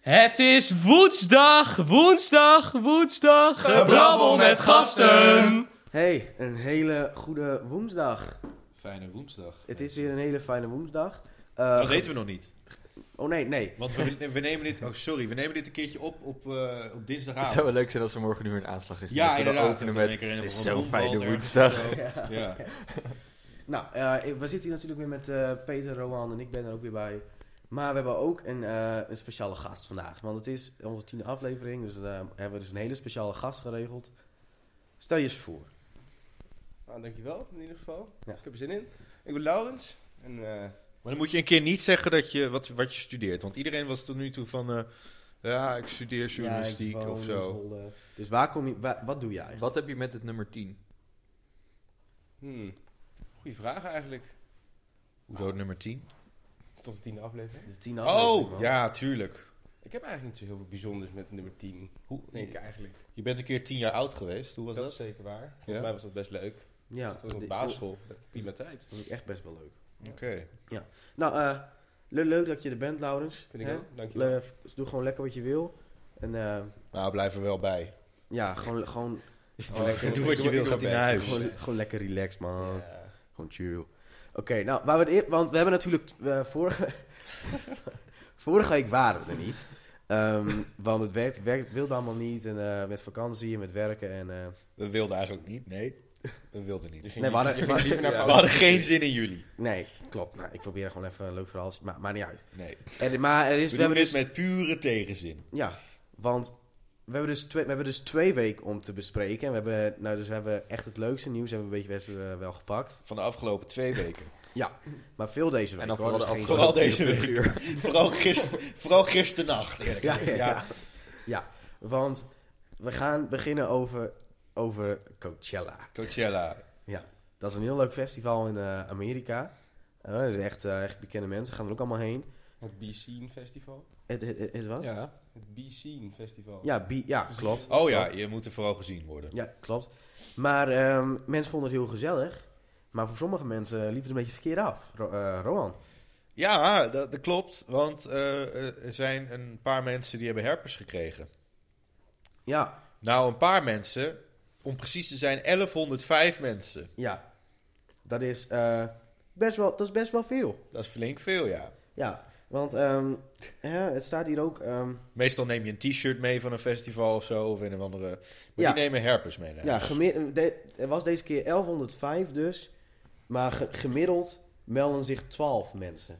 Het is woensdag, woensdag, woensdag. Gebrabbel met gasten. Hey, een hele goede woensdag. Fijne woensdag. Het is weer een hele fijne woensdag. Eh, Dat weten we nog niet. oh nee, nee. Want we, we nemen dit... Oh, sorry. We nemen dit een keertje op op, eh, op Het dinsdagavond. zou wel leuk zijn als er morgen nu een aanslag is. ja, Dat we dan inderdaad. openen Dat met, dan lekker in het een is zo'n rondvalt fijne ergens woensdag. of zo. Ja. Nou, eh, we zitten hier natuurlijk weer met eh, Peter, Rohan en ik ben er ook weer bij. Maar we hebben ook een, eh, een speciale gast vandaag. Want het is onze tiende aflevering, dus daar hebben we dus een hele speciale gast geregeld. Stel je eens voor. Nou, dankjewel in ieder geval. Ja. Ik heb er zin in. Ik ben Laurens. En eh, Maar dan moet je een keer niet zeggen dat je, wat, wat je studeert. Want iedereen was tot nu toe van... eh, ja, ik studeer journalistiek Ja, ik woon of in zo. Zwolle. Dus waar kom je, wa- wat doe je eigenlijk? Wat heb je met het nummer 10? hmm, goede vraag eigenlijk. Hoezo nummer 10? Tot de tiende aflevering. Dit is tiende aflevering, Oh, man. ja, tuurlijk. Ik heb eigenlijk niet zo heel veel bijzonders met nummer 10. Hoe, Denk ik eigenlijk. je bent een keer 10 jaar oud geweest. Hoe was Dat, dat? is zeker waar. Volgens Ja? mij was dat best leuk. Ja, Dat was op dit- basisschool. Prima tijd. Dat is ook echt best wel leuk. Oké. Nou, eh, le- leuk dat je er bent, Laurens. Vind ik Hè? ook. Dankjewel. Le- doe gewoon lekker wat je wil. En eh, Nou, blijf er wel bij. ja, gewoon, gewoon, Oh, lekker- ik Doe ik wat je wil, ik gaat hij best. naar huis. gewoon, gewoon lekker relaxed, man. Ja. Gewoon chill. Oké, nou, waar we het eer- want we hebben natuurlijk eh, vorige, vorige week waren we er niet. Ehm, want het werkt, werkt, wilde allemaal niet. En eh, met vakantie en met werken. En, eh, We wilden eigenlijk niet, nee. We wilden niet. Dus Je We ging Nee, we hadden- liever- je ging liever naar hadden vakantie. geen zin in jullie. nee, klopt. Nou, ik probeer gewoon even een leuk verhaal. Maar, maar niet uit. Nee. En, maar er is, We we doen dit hebben dus, met pure tegenzin. ja, want we hebben, dus twee, we hebben dus twee weken om te bespreken. En we hebben, nou, dus we hebben echt het leukste nieuws hebben we een beetje eh, wel gepakt. Van de afgelopen twee weken. Maar veel deze week. En dan hoor, vooral de dus geen- Vooral afgelopen deze 24 uur. vooral, gister, vooral gisternacht, eerlijk Ja, gezegd. ja, Ja, ja. Ja, want we gaan beginnen over, over Coachella. Coachella. Dat is een heel leuk festival in eh, Amerika. Eh, dat is echt, eh, echt bekende mensen, gaan er ook allemaal heen. Het B-Scene Festival. Het, het, het, het wat? Ja, Ja. Het B-Scene Festival. ja, bi- ja klopt. Oh ja, je moet er vooral gezien worden. Ja, klopt. Maar ehm, mensen vonden het heel gezellig. Maar voor sommige mensen liep het een beetje verkeerd af. Ro eh, Rohan. Ja, dat, dat klopt. Want eh, eh, er zijn een paar mensen die hebben herpes gekregen. Ja, Nou, een paar mensen. Om precies te zijn, 1105 mensen. ja. Dat is, eh, best, wel, dat is best wel veel. Dat is flink veel, ja. Ja, want ehm, hè, het staat hier ook... ehm, Meestal neem je een t-shirt mee van een festival of zo. Of een of andere. Maar Ja. die nemen herpes mee. naar Ja, huis. gemi- de- er was deze keer 1105 dus. Maar ge- gemiddeld melden zich 12 mensen.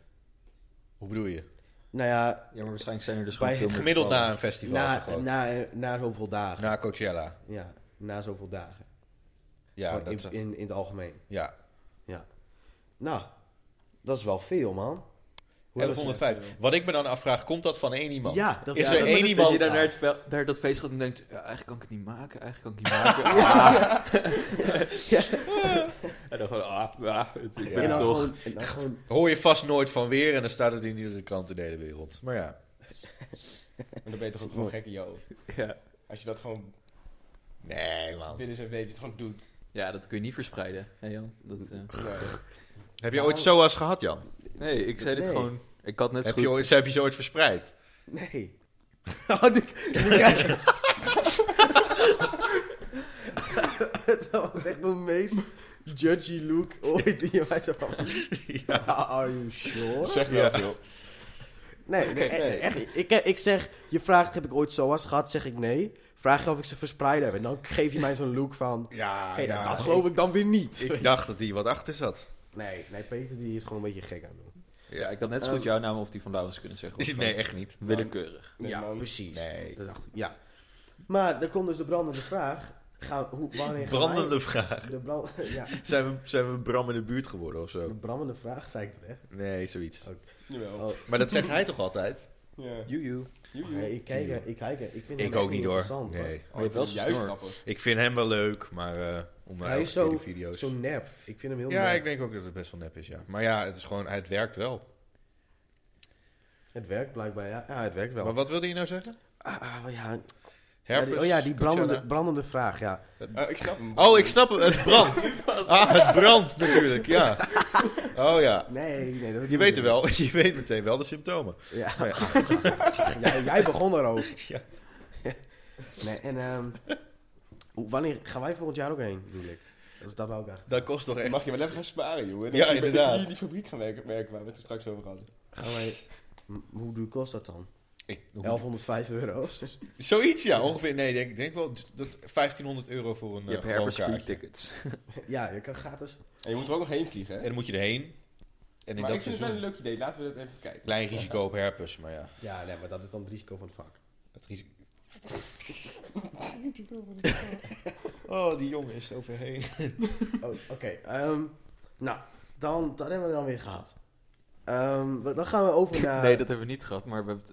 Hoe bedoel je? Nou ja, ja, maar waarschijnlijk zijn er dus Bij gewoon veel meer Gemiddeld gevallen. na een festival. is dat na, groot. na, na zoveel dagen. na Coachella. Ja, na zoveel dagen. Ja, Gewoon dat, in, in, in het algemeen. ja. Nou, dat is wel veel, man. Hoe hebben ze- 1105. Wat ik me dan afvraag, komt dat van één iemand? Ja, dat Is ja, er dat- één dus iemand Als je aan? daar naar, het vel- naar dat feest gaat en denkt, ja, eigenlijk kan ik het niet maken, eigenlijk kan ik het niet maken. Ah. En dan gewoon, ah, ah, het- ik ben en dan het toch. gewoon- en dan gewoon Hoor je vast nooit van weer en dan staat het in iedere krant in de hele wereld. Maar ja. Maar dan ben je toch ook gewoon gek in je hoofd. Ja. Als je dat gewoon Nee, man. binnen zijn weten, het gewoon doet. ja, dat kun je niet verspreiden. Hè, Jan? Dat, eh. Ja. Heb je ooit SOAS gehad, Jan? Nee, ik zei dit Nee. gewoon. Ik had net zo Heb je, goed... ooit, heb je ze ooit verspreid? Nee. Oh, nu, nu krijg- dat was echt de meest judgy look ooit die je mij zo van... Nou, Are you sure? Zeg wel Ja. veel. Nee, nee, e- echt. Ik, ik zeg, je vraagt heb ik ooit zoals gehad, zeg ik nee. Vraag je of ik ze verspreid heb en dan geef je mij zo'n look van... Ja, Hé, nou, dat geloof ik dan weer niet. ik. Ik dacht dat hij wat achter zat. Nee, nee, Peter die is gewoon een beetje gek aan het doen. Ja, ik had net zo goed Ehm. jouw naam of die van Laurens kunnen zeggen. of Oh. Nee, gewoon echt niet. Willekeurig. Nee, man. precies. Nee. Dat dacht ik, ja. Maar dan komt dus de brandende vraag. Gaan, hoe, wanneer gaan wij- Brandende vraag. De, brand, ja, Zijn we, zijn we Bram in de buurt geworden of de zo? brandende vraag, zei ik dat echt. Nee, zoiets. Jawel. Oh. Maar dat zegt hij toch altijd? Ja. Joejoe. Joejoe. Nee, ik kijk, er- ik kijk, er- ik vind hem Ik echt ook niet hoor. interessant, man. Nee. Maar je hebt wel Oh, juist snor. grappig. Ik vind hem wel leuk, maar eh om naar Hij elke is keer zo- die video's. Zo nep. Ik vind hem heel Ja, nep. ik denk ook dat het best wel nep is, ja. Maar ja, het is gewoon, het werkt wel. Het werkt blijkbaar, ja. Ja, het werkt wel. Maar wat wilde je nou zeggen? Ah, ah, wel ja. Ja, Herpes, die- oh ja, die brandende, Coachella? brandende vraag, ja. Oh, ik snap hem. Oh, ik snap het. Het brandt. Ah, het brandt natuurlijk, ja. Oh ja. Nee, nee. Dat Je weet er wel, je weet meteen wel de symptomen. Ja. Maar ja. jij, jij begon erover. Ja. Nee, en ehm, hoe- wanneer gaan wij volgend jaar ook heen, bedoel ik? Dat, dat wou ik eigenlijk. Dat kost toch echt... Mag je wel even gaan sparen, jongen. Dan Ja, kun je beter inderdaad. Hier die fabriek gaan werken, merken waar we het er straks over hadden. Gaan wij, m- hoe duur kost dat dan? Ik- 1105 euro's. Zoiets, ja, ongeveer. Nee, ik denk, denk wel dat 1500 euro voor een Je hebt eh, herpers gewoon free kaartje. tickets. ja, je kan gratis. En je moet er ook nog heen vliegen, En hè? dan moet je erheen. En in Maar ik dat vind het wel een seizoen... leuk idee. Laten we dat even kijken. Klein risico op herpes, maar ja. Ja, nee, maar dat is dan het risico van het vak. Het risico... oh, die jongen is er overheen. Oh, Oké, ehm, nou, dan, dat hebben we dan weer gehad. Ehm, dan gaan we over naar... Nee, dat hebben we niet gehad, maar we hebben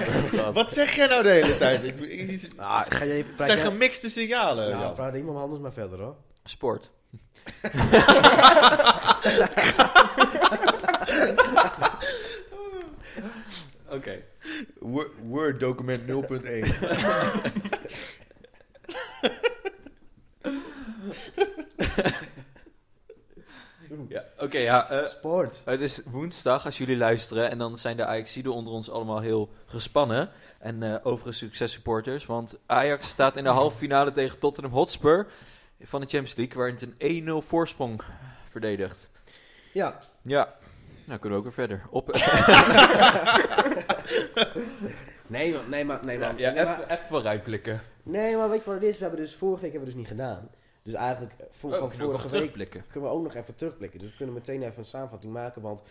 het over gehad. Wat zeg jij nou de hele tijd? Ik, ik, niet- Ah, ga jij het praat zijn jij- gemixte signalen. Nou, Jan. praat iemand anders maar verder, hoor. Sport. Oké. Wo- Word document 0.1. Ja, oké, ja. eh, Sport. het is woensdag als jullie luisteren en dan zijn de Ajaxiden onder ons allemaal heel gespannen. En eh, overigens succes supporters, want Ajax staat in de halve finale tegen Tottenham Hotspur van de Champions League, waarin het een 1-0 voorsprong verdedigt. Ja, Ja, nou kunnen we ook weer verder. Op, nee, man, nee, maar... Nee, ja, man. even, even vooruitblikken. nee, maar weet je wat het is? We hebben dus vorige week hebben we dus niet gedaan. Dus eigenlijk, eh, voor, Oh, we van kunnen vorige ook nog week terugblikken. kunnen we ook nog even terugblikken. Dus we kunnen meteen even een samenvatting maken, want...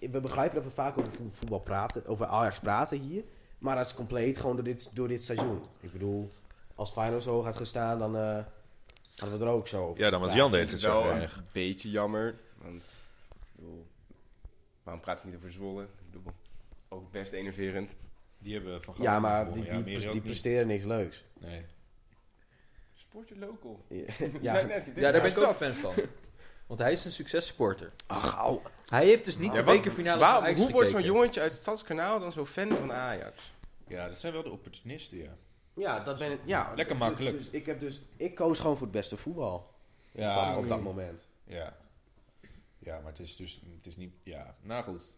We begrijpen dat we vaak over vo- voetbal praten, over Ajax praten hier. Maar dat is compleet gewoon door dit, door dit seizoen. Ik bedoel, als Feyenoord zo hoog had gestaan, dan eh, hadden we er ook zo over. Ja, dan was Ja, Jan ik deed het vind zo wel weinig. Een beetje jammer. Want, ik bedoel, waarom praat ik niet over Zwolle? Ik bedoel, ook best enerverend. Die hebben van Ja, Groningen maar die, gewonnen. Ja, die, meer pres- ook die niet. presteren niks leuks. Nee. Sportje local. Ja. Ja, daar ben ik ook fan van. Want hij is een successupporter. Ach, au. Hij heeft dus niet Ja, de wat- bekerfinale waarom- van Ajax Hoe wordt zo'n gekeken. jongetje uit het Stadskanaal dan zo fan van Ajax? Ja, dat zijn wel de opportunisten, ja. Ja, dat ben ik. Ja, Lekker d- makkelijk. Dus, ik heb dus, ik koos gewoon voor het beste voetbal. Ja, Dan- oké. op dat moment. Ja. Ja, maar het is dus het is niet... Ja, nou goed.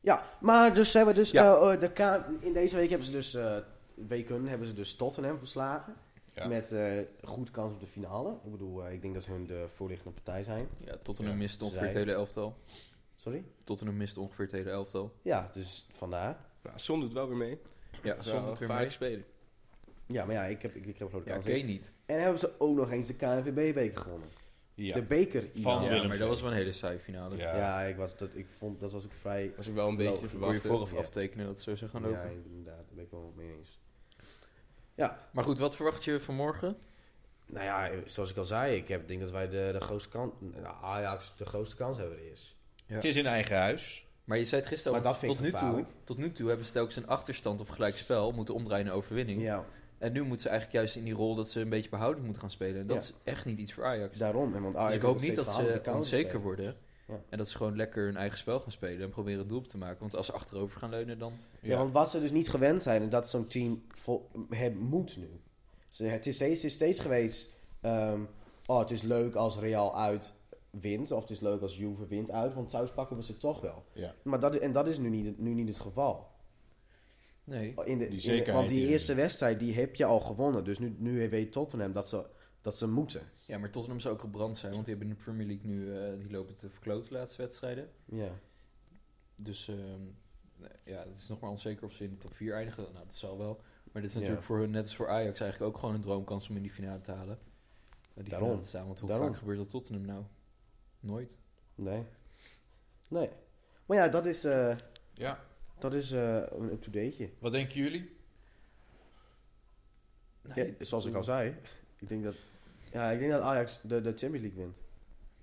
Ja, maar dus hebben we dus. Ja. eh, eh, de K- in deze week hebben ze dus. eh weken hebben ze dus Tottenham verslagen. Ja. Met eh goed kans op de finale. Ik bedoel, eh, ik denk dat ze hun de voorliggende partij zijn. Ja, Tottenham Ja, mist ongeveer het zij. hele elftal. Sorry? Tottenham mist ongeveer het hele elftal. Ja, dus vandaar. Nou, Son doet wel weer mee. Ja, zonder weer gevaarlijk mee. spelen. Ja, maar ja, ik heb, ik, ik heb grote Ja, kans. Kane niet. En hebben ze ook nog eens de KNVB-beker gewonnen. Ja. De beker. Van ja. Ja, Willem maar II. dat was wel een hele saaie finale. Ja. Ja, ik was, dat, ik vond, dat was ook vrij Was ook wel een beetje te Kun je verwachten. vooraf Ja. aftekenen dat het zo zou gaan lopen. Ja, inderdaad, daar ben ik wel mee eens. Maar goed, wat verwacht je vanmorgen? Nou ja, zoals ik al zei, ik heb, denk dat wij de, de grootste kans, nou, Ajax de grootste kans hebben is. Ja. Het is in eigen huis. Maar je zei het gisteren Maar al, dat vind tot, ik nu toe, gevaarlijk. tot nu toe hebben ze telkens een achterstand of gelijkspel moeten omdraaien naar overwinning. Ja, En nu moeten ze eigenlijk juist in die rol dat ze een beetje behoudend moeten gaan spelen. En dat Ja. is echt niet iets voor Ajax. daarom. En want Ajax Dus ik doet hoop nog niet dat steeds verhalen ze met de counters onzeker spelen. worden. Ja. En dat ze gewoon lekker hun eigen spel gaan spelen en proberen het doel op te maken. Want als ze achterover gaan leunen, dan... Ja. want wat ze dus niet gewend zijn, en dat zo'n team vol, het moet nu. Ze, het, is steeds, het is steeds geweest, ehm, oh, het is leuk als Real uit wint, of het is leuk als Juve wint uit, want thuis pakken we ze toch wel. Ja. Maar dat, en dat is nu niet, nu niet het geval. In Nee. de, Die in de- zekerheid want die die er eerste wedstrijd die heb je al gewonnen. Dus nu, nu weet Tottenham dat ze, dat ze moeten. Ja, maar Tottenham zou ook gebrand zijn, want die hebben in de Premier League nu... eh, die lopen te verkloten de laatste wedstrijden. Ja. Dus ehm, nee, ja, het is nog maar onzeker of ze in de top 4 eindigen. Nou, dat zal wel. Maar dit is Ja. natuurlijk voor hun, net als voor Ajax, eigenlijk ook gewoon een droomkans om in die finale te halen. Eh, Die Daarom. finale te staan, want hoe Daarom. vaak gebeurt dat Tottenham nou? Nooit. Nee. Nee. Maar ja, dat is, eh, Ja. dat is eh, een up-to-dateje. Wat denken jullie? Ja, zoals ik al zei, ik denk dat, ja, ik denk dat Ajax de, de Champions League wint.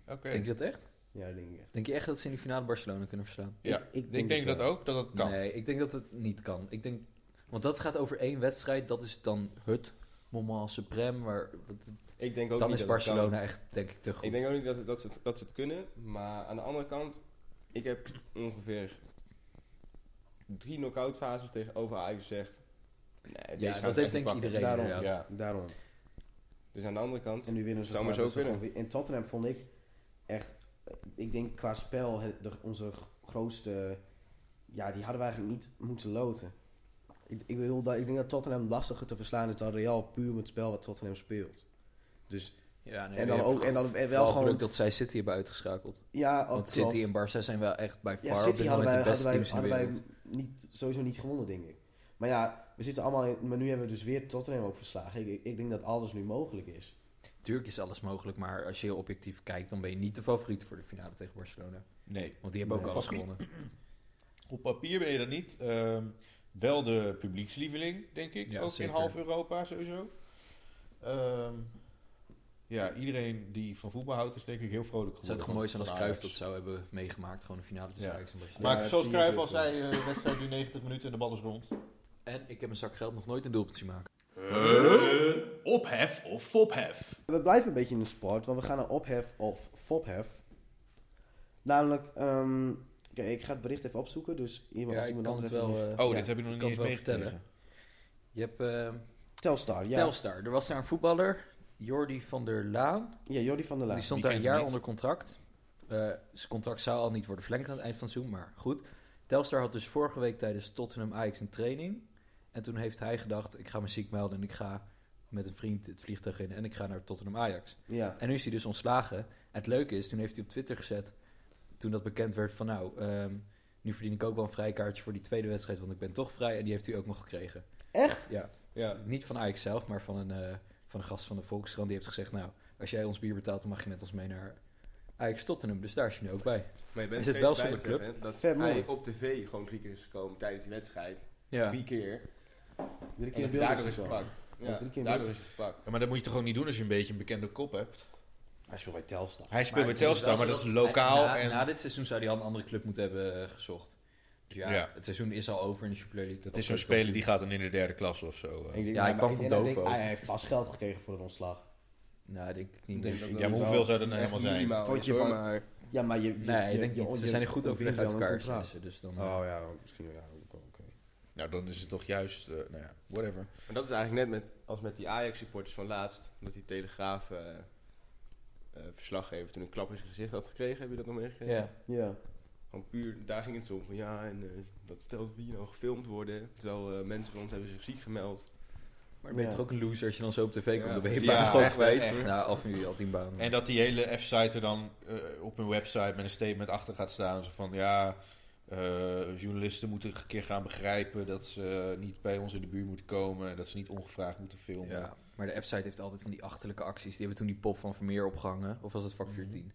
Oké. Denk je dat echt? Ja, dat denk ik. echt. Denk je echt dat ze in die finale Barcelona kunnen verslaan? Ja, Ik- ik ik denk, denk dat het wel. ook, dat dat kan. Nee, ik denk dat het niet kan. Ik denk, want dat gaat over één wedstrijd. Dat is dan het moment supreme. Waar, Ik denk ook dan niet is dat het kan. Barcelona echt, denk ik, te goed. Ik denk ook niet dat, dat, ze het, dat ze het kunnen. Maar aan de andere kant, ik heb ongeveer drie knock-out fases tegenover Ajax gezegd. Nee, deze gaan ze echt dat heeft niet denk ik pakken. iedereen. Daarom. inderdaad. Ja. Daarom. Dus aan de andere kant, En nu winnen ze Zou maar gewoon, zo dat ze gewoon win- En Tottenham vond ik echt eh, ik denk qua spel, het- de- onze grootste, ja, die hadden we eigenlijk niet moeten loten. Ik, ik, bedoel, dat, ik denk dat Tottenham lastiger te verslaan is dan Real, puur met het spel wat Tottenham speelt. Dus Ja, nee, En dan je hebt ook- en dan- en wel vooral gewoon- geluk dat zij City hebben uitgeschakeld. ja, ook Want klopt. City en Barça zijn wel echt bij ja, far op City dit hadden wij, moment de beste hadden wij, teams in de hadden wij wereld. niet, sowieso niet gewonnen, denk ik. Maar ja, we zitten allemaal in, maar nu hebben we dus weer Tottenham ook verslagen. Ik, ik, ik denk dat alles nu mogelijk is. Tuurlijk is alles mogelijk, maar als je heel objectief kijkt, dan ben je niet de favoriet voor de finale tegen Barcelona. Nee. Want die hebben ook Nee. alles gewonnen. Op papier ben je dat niet. Ehm, wel de publiekslieveling, denk ik. Ja, ook zeker. in half Europa sowieso. Ehm, ja, iedereen die van voetbal houdt is denk ik heel vrolijk Het zou geworden. toch mooi van- zijn als van Cruijff Ajax. dat zou hebben meegemaakt, gewoon een finale tussen Ja. Ajax en Barcelona. Maar Ja, dat zoals zie je Cruijff al natuurlijk zei, eh, de wedstrijd nu 90 minuten en de bal is rond. En ik heb een zak geld nog nooit een doelpunt zien maken. Ophef of fophef? We blijven een beetje in de sport, want we gaan naar ophef of fophef. Namelijk, ehm kijk, ik ga het bericht even opzoeken, dus iemand Ja, als ik iemand kan het anders even... wel, eh, Oh, Ja, dit heb je nog niet kan eens het wel vertellen. meegekregen. Je hebt eh, Telstar, ja. Telstar. Er was daar een voetballer, Jordi van der Laan. ja, Jordi van der Laan. die stond wie daar kent hem een jaar niet? onder contract. Eh, zijn contract zou al niet worden verlengd aan het eind van het seizoen, maar goed. Telstar had dus vorige week tijdens Tottenham Ajax een training. En toen heeft hij gedacht, ik ga me ziek melden en ik ga met een vriend het vliegtuig in en ik ga naar Tottenham Ajax. Ja. En nu is hij dus ontslagen. En het leuke is, toen heeft hij op Twitter gezet, toen dat bekend werd van nou, ehm, nu verdien ik ook wel een vrijkaartje voor die tweede wedstrijd, want ik ben toch vrij. En die heeft hij ook nog gekregen. Echt? Ja, Ja. niet van Ajax zelf, maar van een, eh, van een gast van de Volkskrant. Die heeft gezegd, nou, als jij ons bier betaalt, dan mag je met ons mee naar Ajax Tottenham. Dus daar is je nu ook bij. Maar je bent Is het vergeten wel bij te zonder club? zeggen Dat Vet mooi. hij op tv gewoon drie keer is gekomen tijdens die wedstrijd. Ja. Drie keer. Drie En keer dat de hij daardoor is beelden wel. gepakt. Dat is Ja, drie keer in daardoor is hij gepakt. Ja, maar dat moet je toch gewoon niet doen als je een beetje een bekende kop hebt? Hij speelt bij Telstar. Hij speelt bij Telstar, maar dat is lokaal. Na, en na dit seizoen zou hij al een andere club moeten hebben eh, gezocht. Dus ja, Ja. het seizoen is al over in de Super League. dat is zo'n speler die gaat dan in de derde klas of zo. eh. denk, Ja, hij maar kwam van denk- Dovo. denk- Hij heeft vast geld gekregen voor het ontslag. Nou, denk ik niet. Ik denk dat Ja, maar dat hoeveel wel zou dat nou echt helemaal zijn? minimaal Tot is, je hoor, van- maar Ja, maar je... je- nee, je- ik denk je- niet. Ze je- zijn er goed je overweg ontwint uit wel een elkaar. contract. ze, Dus dan, eh, Oh ja, misschien ja, ook wel, oké. Nou, dan is het toch juist, eh, nou ja, whatever. Maar dat is eigenlijk net met, als met die Ajax-supporters van laatst. Dat die Telegraaf eh, eh, verslaggever toen een klap in zijn gezicht had gekregen. Heb je dat nog meegekregen? Oh. ja. Ja. Gewoon puur, daar ging het zo om van ja, en eh, dat stelt wie nou gefilmd worden. Terwijl eh, mensen van ons hebben zich ziek gemeld. Maar dan ben Ja. je toch ook een loser als je dan zo op tv komt. Ja. Dan ben je Ja, baan gewoon echt, kwijt. echt. Nou, af en jullie al tien banen. En dat die hele F-site er dan eh, op hun website met een statement achter gaat staan. Zo van, ja, eh, journalisten moeten een keer gaan begrijpen dat ze eh, niet bij ons in de buurt moeten komen. En dat ze niet ongevraagd moeten filmen. Ja, maar de F-site heeft altijd van die achterlijke acties. Die hebben toen die pop van Vermeer opgehangen. Of was het vak 14? Ik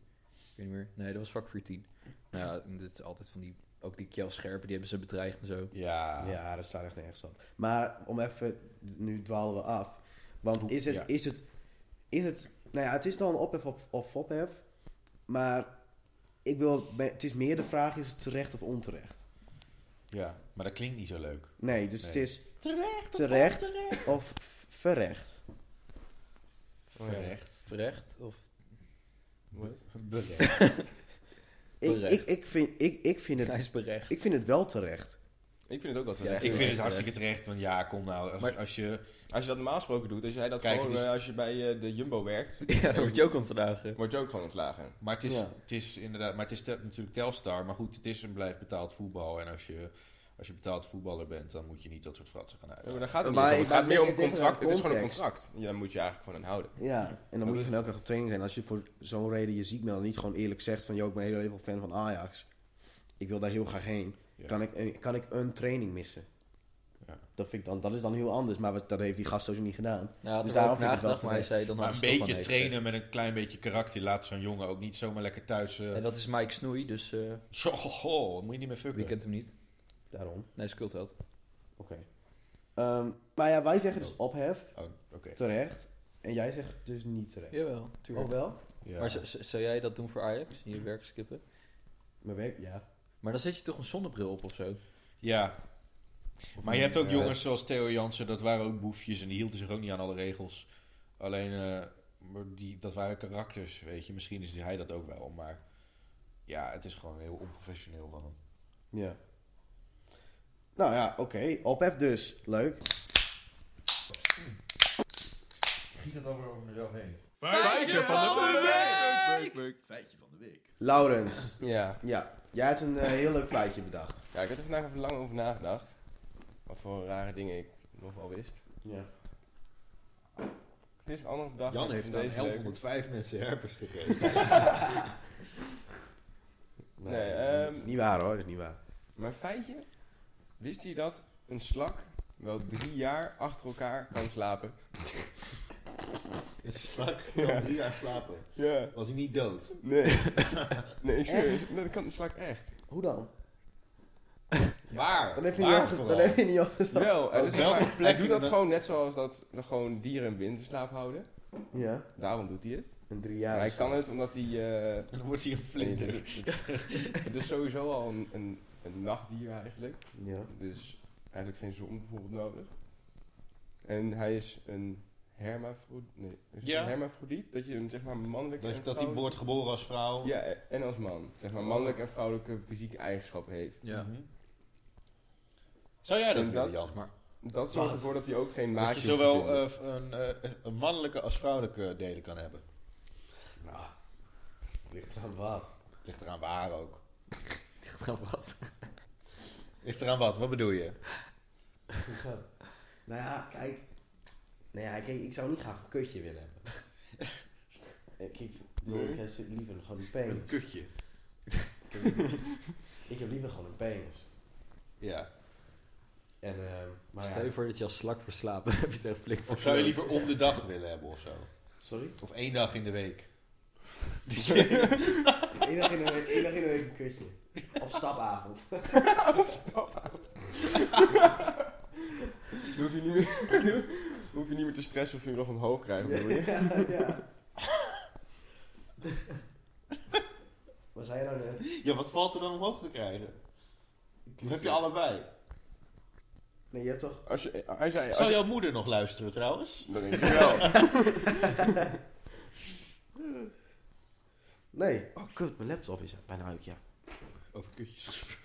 weet niet meer. Nee, dat was vak 14. Nou ja, en dit is altijd van die... Ook die Kjell Scherpen, die hebben ze bedreigd en zo. Ja. Ja, dat staat echt nergens op. Maar om even, nu dwalen we af. Want is het, Ja. is het, is het, nou ja, het is dan ophef of, of ophef. Maar ik wil, me- het is meer de vraag, is het terecht of onterecht? Ja, maar dat klinkt niet zo leuk. Nee, dus Nee. het is Terecht. terecht of v- verrecht. Terecht. Verrecht? Of... Wat? Berecht. Ik, Terecht. ik, ik, vind, ik, ik, vind Hij het, is berecht. ik vind het wel terecht. Ik vind het ook wel Ja, terecht. Ik vind Terecht. het hartstikke terecht, want ja, kom nou. Als, Maar- als je, Als je dat normaal gesproken doet, als jij dat Kijk, gewoon, het is- eh, als je bij eh, de Jumbo werkt, Ja, dan word je ook ontslagen. word je ook gewoon ontslagen. maar het is, Ja. het is inderdaad, maar het is te- natuurlijk Telstar. Maar goed, het is en blijft betaald voetbal. En als je, als je betaald voetballer bent, dan moet je niet dat soort fratsen gaan Ja, uit. maar daar gaat het Maar niet om. ik- Het gaat ik- meer om ik denk contract. dat Het is gewoon een context. contract. Ja, daar moet je eigenlijk gewoon aan houden. Ja, en dan moet je van elke dag op training zijn. Als je voor zo'n reden je ziek meldt en niet gewoon eerlijk zegt van... ...joh, ik ben heel even fan van Ajax. Ik wil daar heel graag heen. Ja. Kan, ik, eh, kan ik een training missen? Ja. Dat, vind ik dan, dat is dan heel anders, maar wat- dat heeft die gast sowieso niet gedaan. Nou, hij had Dus er wel daarom over vind ik het wel nagedacht, maar hij terecht. zei... Dan Maar had een ze toch wel beetje nee trainen met een klein beetje karakter laat zo'n jongen ook niet zomaar lekker thuis. eh gezegd. En dat is Mike Snoei, dus eh, Zo, goh, goh, moet je niet meer fucken. wie kent hem niet? Daarom. Nee, skult had. Oké. Ehm, maar ja, wij zeggen dus ophef, Oh, oké. terecht. En jij zegt dus niet terecht. Jawel, Ook Oh, wel? Ja. Maar z- z- zou jij dat doen voor Ajax? Je werk skippen? Mijn werk, ja. Maar dan zet je toch een zonnebril op of zo? Ja. Maar je hebt ook Ja. jongens zoals Theo Jansen, dat waren ook boefjes en die hielden zich ook niet aan alle regels. Alleen, eh, maar die, dat waren karakters, weet je. Misschien is hij dat ook wel, maar ja, het is gewoon heel onprofessioneel van hem. Ja. Nou ja, oké. Ophef dus. Leuk. Misschien dat over mezelf heen. Feitje van de week! Feitje van de week. Laurens. Ja. Ja, jij hebt een eh, heel leuk feitje bedacht. ja, ik heb er vandaag even lang over nagedacht. Wat voor rare dingen ik nog wel wist. Ja. Het is een andere dag. Jan ik heeft vind aan deze leuk. 1105 mensen herpes gegeven. Nee, Dat is ehm niet waar hoor, dat is niet waar. maar feitje. Wist je dat een slak wel drie jaar achter elkaar kan slapen? Een slak kan drie jaar slapen. Ja. Was hij niet dood? Nee. nee, ik zweer, dat kan een slak echt. Hoe dan? Waar? Dan heb je Waar niet opge- vooral? dan heb je niet opgezet. Wel, het Op is welke maar, plek hij doet dat dan- gewoon net zoals dat er gewoon dieren in winterslaap houden. Ja, Daarom doet hij het. een drie Maar jaar. hij kan het omdat hij... eh, En dan wordt hij een nee, flinter. dat- dat is sowieso al een, een, een nachtdier eigenlijk. Ja. Dus hij heeft ook geen zon bijvoorbeeld nodig. En hij is een hermafrodiet. Nee, is het Ja. een hermafrodiet? Dat je hem zeg maar mannelijk Dat, en dat hij Oh. wordt vrouwelijk- geboren als vrouw. Ja, e- en als man. Zeg maar mannelijke en vrouwelijke fysieke eigenschappen heeft. Ja. Mhm. Zou jij dat En willen, dat- Jan? Dat zorgt ervoor dat hij ook geen maatje Dat je hoeft te zowel vinden. eh, een, eh, een mannelijke als vrouwelijke delen kan hebben. Nou, ligt eraan wat. Ligt eraan waar ook. Wat? Ligt eraan wat? Wat bedoel je? nou ja, kijk. Nou ja, kijk, ik zou niet graag een kutje willen hebben. Eh, kijk, ik bedoel, ik heb liever gewoon een penis. kutje. Ik heb liever gewoon een penis. Ja. En, ehm, maar ja. Stel je voor dat je als slak verslaat, dan heb je het echt flink Of zou je verkloot. liever om de dag willen hebben of zo? Sorry? Of één dag in de week? Eén dag in de week, één dag in de week een kutje. Op stapavond. Dan hoef je niet meer, dan hoef je niet meer te stressen of je hem nog omhoog krijgt. bedoel je? ja, ja. Wat zei je nou net? Ja, wat valt er dan omhoog te krijgen? Of heb je allebei? Nee, je hebt toch... Als je, hij zei, als Zou je, jouw moeder nog luisteren trouwens? dat denk ik wel. Nee. Oh, kut, mijn laptop is bijna uit, ja. Over kutjes.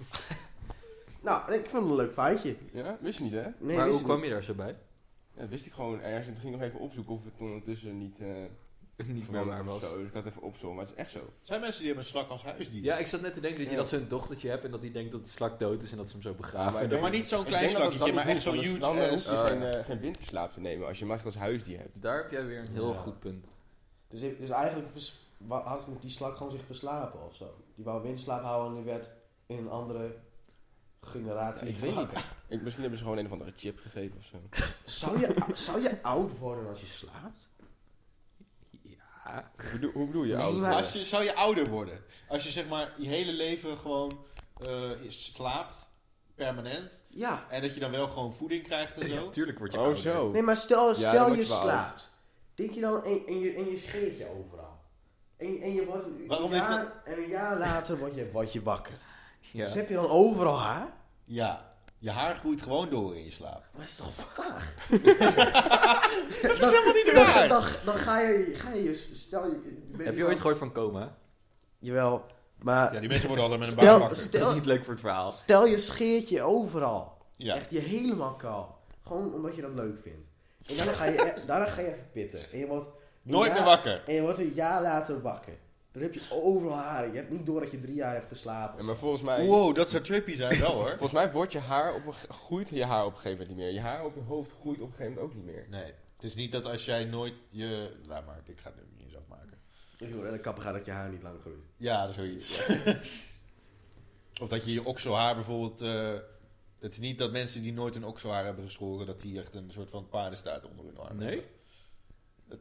Nou, ik vond het een leuk feitje. Ja, wist je niet hè? Nee, wist maar hoe ik kwam niet. je daar zo bij? Ja, dat wist ik gewoon ergens en toen ging ik nog even opzoeken of het ondertussen niet, eh Niet veranderd meer waar of was. Zo. Dus ik had even opzoeken, maar het is echt zo. Zijn mensen die hebben een slak als huisdier? Ja, ik zat net te denken dat je Ja. dat zo'n dochtertje hebt en dat die denkt dat de slak dood is en dat ze hem zo begraven. maar ik En denk- maar niet zo'n Ik klein denk dat dat slakje, dan maar niet echt hoeft, zo'n want huge Dan hoef ass. je ass. geen, eh, geen winterslaap te nemen als je macht als huisdier hebt. daar heb jij weer een heel Ja. goed punt. Dus, dus eigenlijk vers- wa- had die slak gewoon zich verslapen of zo. Die wou windslaap houden en die werd in een andere generatie. Ik weet gevangen. Ik, misschien hebben ze gewoon een of andere chip gegeven of zo. Zou je, zou je oud worden als je slaapt? Ja. Hoe bedoel- hoe bedoel je Nee, oud? maar- Als je, zou je ouder worden? Als je zeg maar je hele leven gewoon eh, je slaapt, permanent. Ja. En dat je dan wel gewoon voeding krijgt en zo. Natuurlijk word je Oh ouder. zo. Nee, maar stel, Ja, stel dan je word je wel slaapt. Denk je dan, en, en je, en je scheert je overal. En, je- en je wordt een Waarom heeft jaar, en een jaar later word je, word je wakker. Ja. Dus heb je dan overal haar? Ja, je haar groeit gewoon door in je slaap. Maar is toch waar? Dat is helemaal niet Dan, raar. dan, dan ga je, ga je, stel je... weet Heb je niet ooit wat- gehoord van coma? Jawel, maar Ja, die mensen worden altijd met een baan stel, wakker. Dat is stel, niet leuk voor het verhaal. stel je scheert je overal. Ja. Echt je helemaal kaal. Gewoon omdat je dat leuk vindt. En daarna ga je, e- daarna ga je even pitten. En je wordt een Nooit jaar- meer wakker. En je wordt een jaar later wakker. Dan heb je overal haar. Je hebt niet door dat je drie jaar hebt geslapen. Ja, maar volgens mij, Wow, dat zou trippy zijn wel hoor. volgens mij wordt je haar op een, ge- groeit je haar op een gegeven moment niet meer. Je haar op je hoofd groeit op een gegeven moment ook niet meer. Nee, het is niet dat als jij nooit je... Laat maar, ik ga het nu niet eens afmaken. Ik wil naar de kapper gaan dat je haar niet lang groeit. Ja, zoiets. of dat je je okselhaar bijvoorbeeld... eh, het is niet dat mensen die nooit een okselhaar hebben geschoren... dat die echt een soort van paardenstaat onder hun arm Nee? hebben.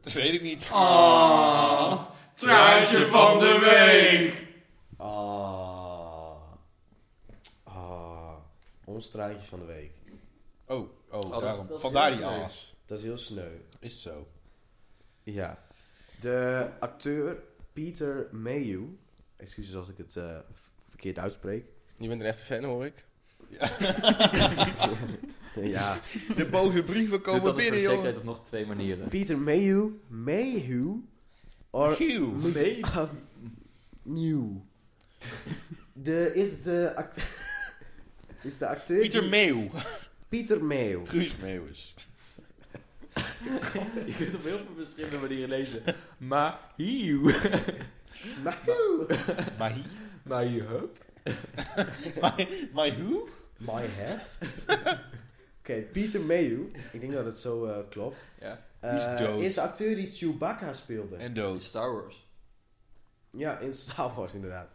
Dat weet ik niet. Ah, traantje van de week. Ah. Ah. Ons straatje van de week. Oh, oh, dat- daarom. dat is Vandaar die heel sneu. aas. Dat is heel sneu. Is het zo. Ja. De acteur Peter Mayhew. Excuses als ik het eh, verkeerd uitspreek. Je bent een echte fan hoor ik. Ja. De boze brieven Doe het komen dan voor binnen, de joh. zekerheid op nog twee manieren. Peter Mayhew. Mayhew. Or Ah, Hugh. Nee. Nieuw. De is de act- is de acteur Pieter die- Meeuw. Pieter Meeuw. Guus Meeuwis. Je kunt op heel veel verschillende manieren lezen. Maar hieuw. Maar hi- Maar je hup. maar hoe? My half. Oké, Peter Mayhew. Ik denk dat het zo eh, klopt. Ja. Eh, Die is dood. Is de acteur die Chewbacca speelde. En In dood. Star Wars. Ja, in Star Wars inderdaad.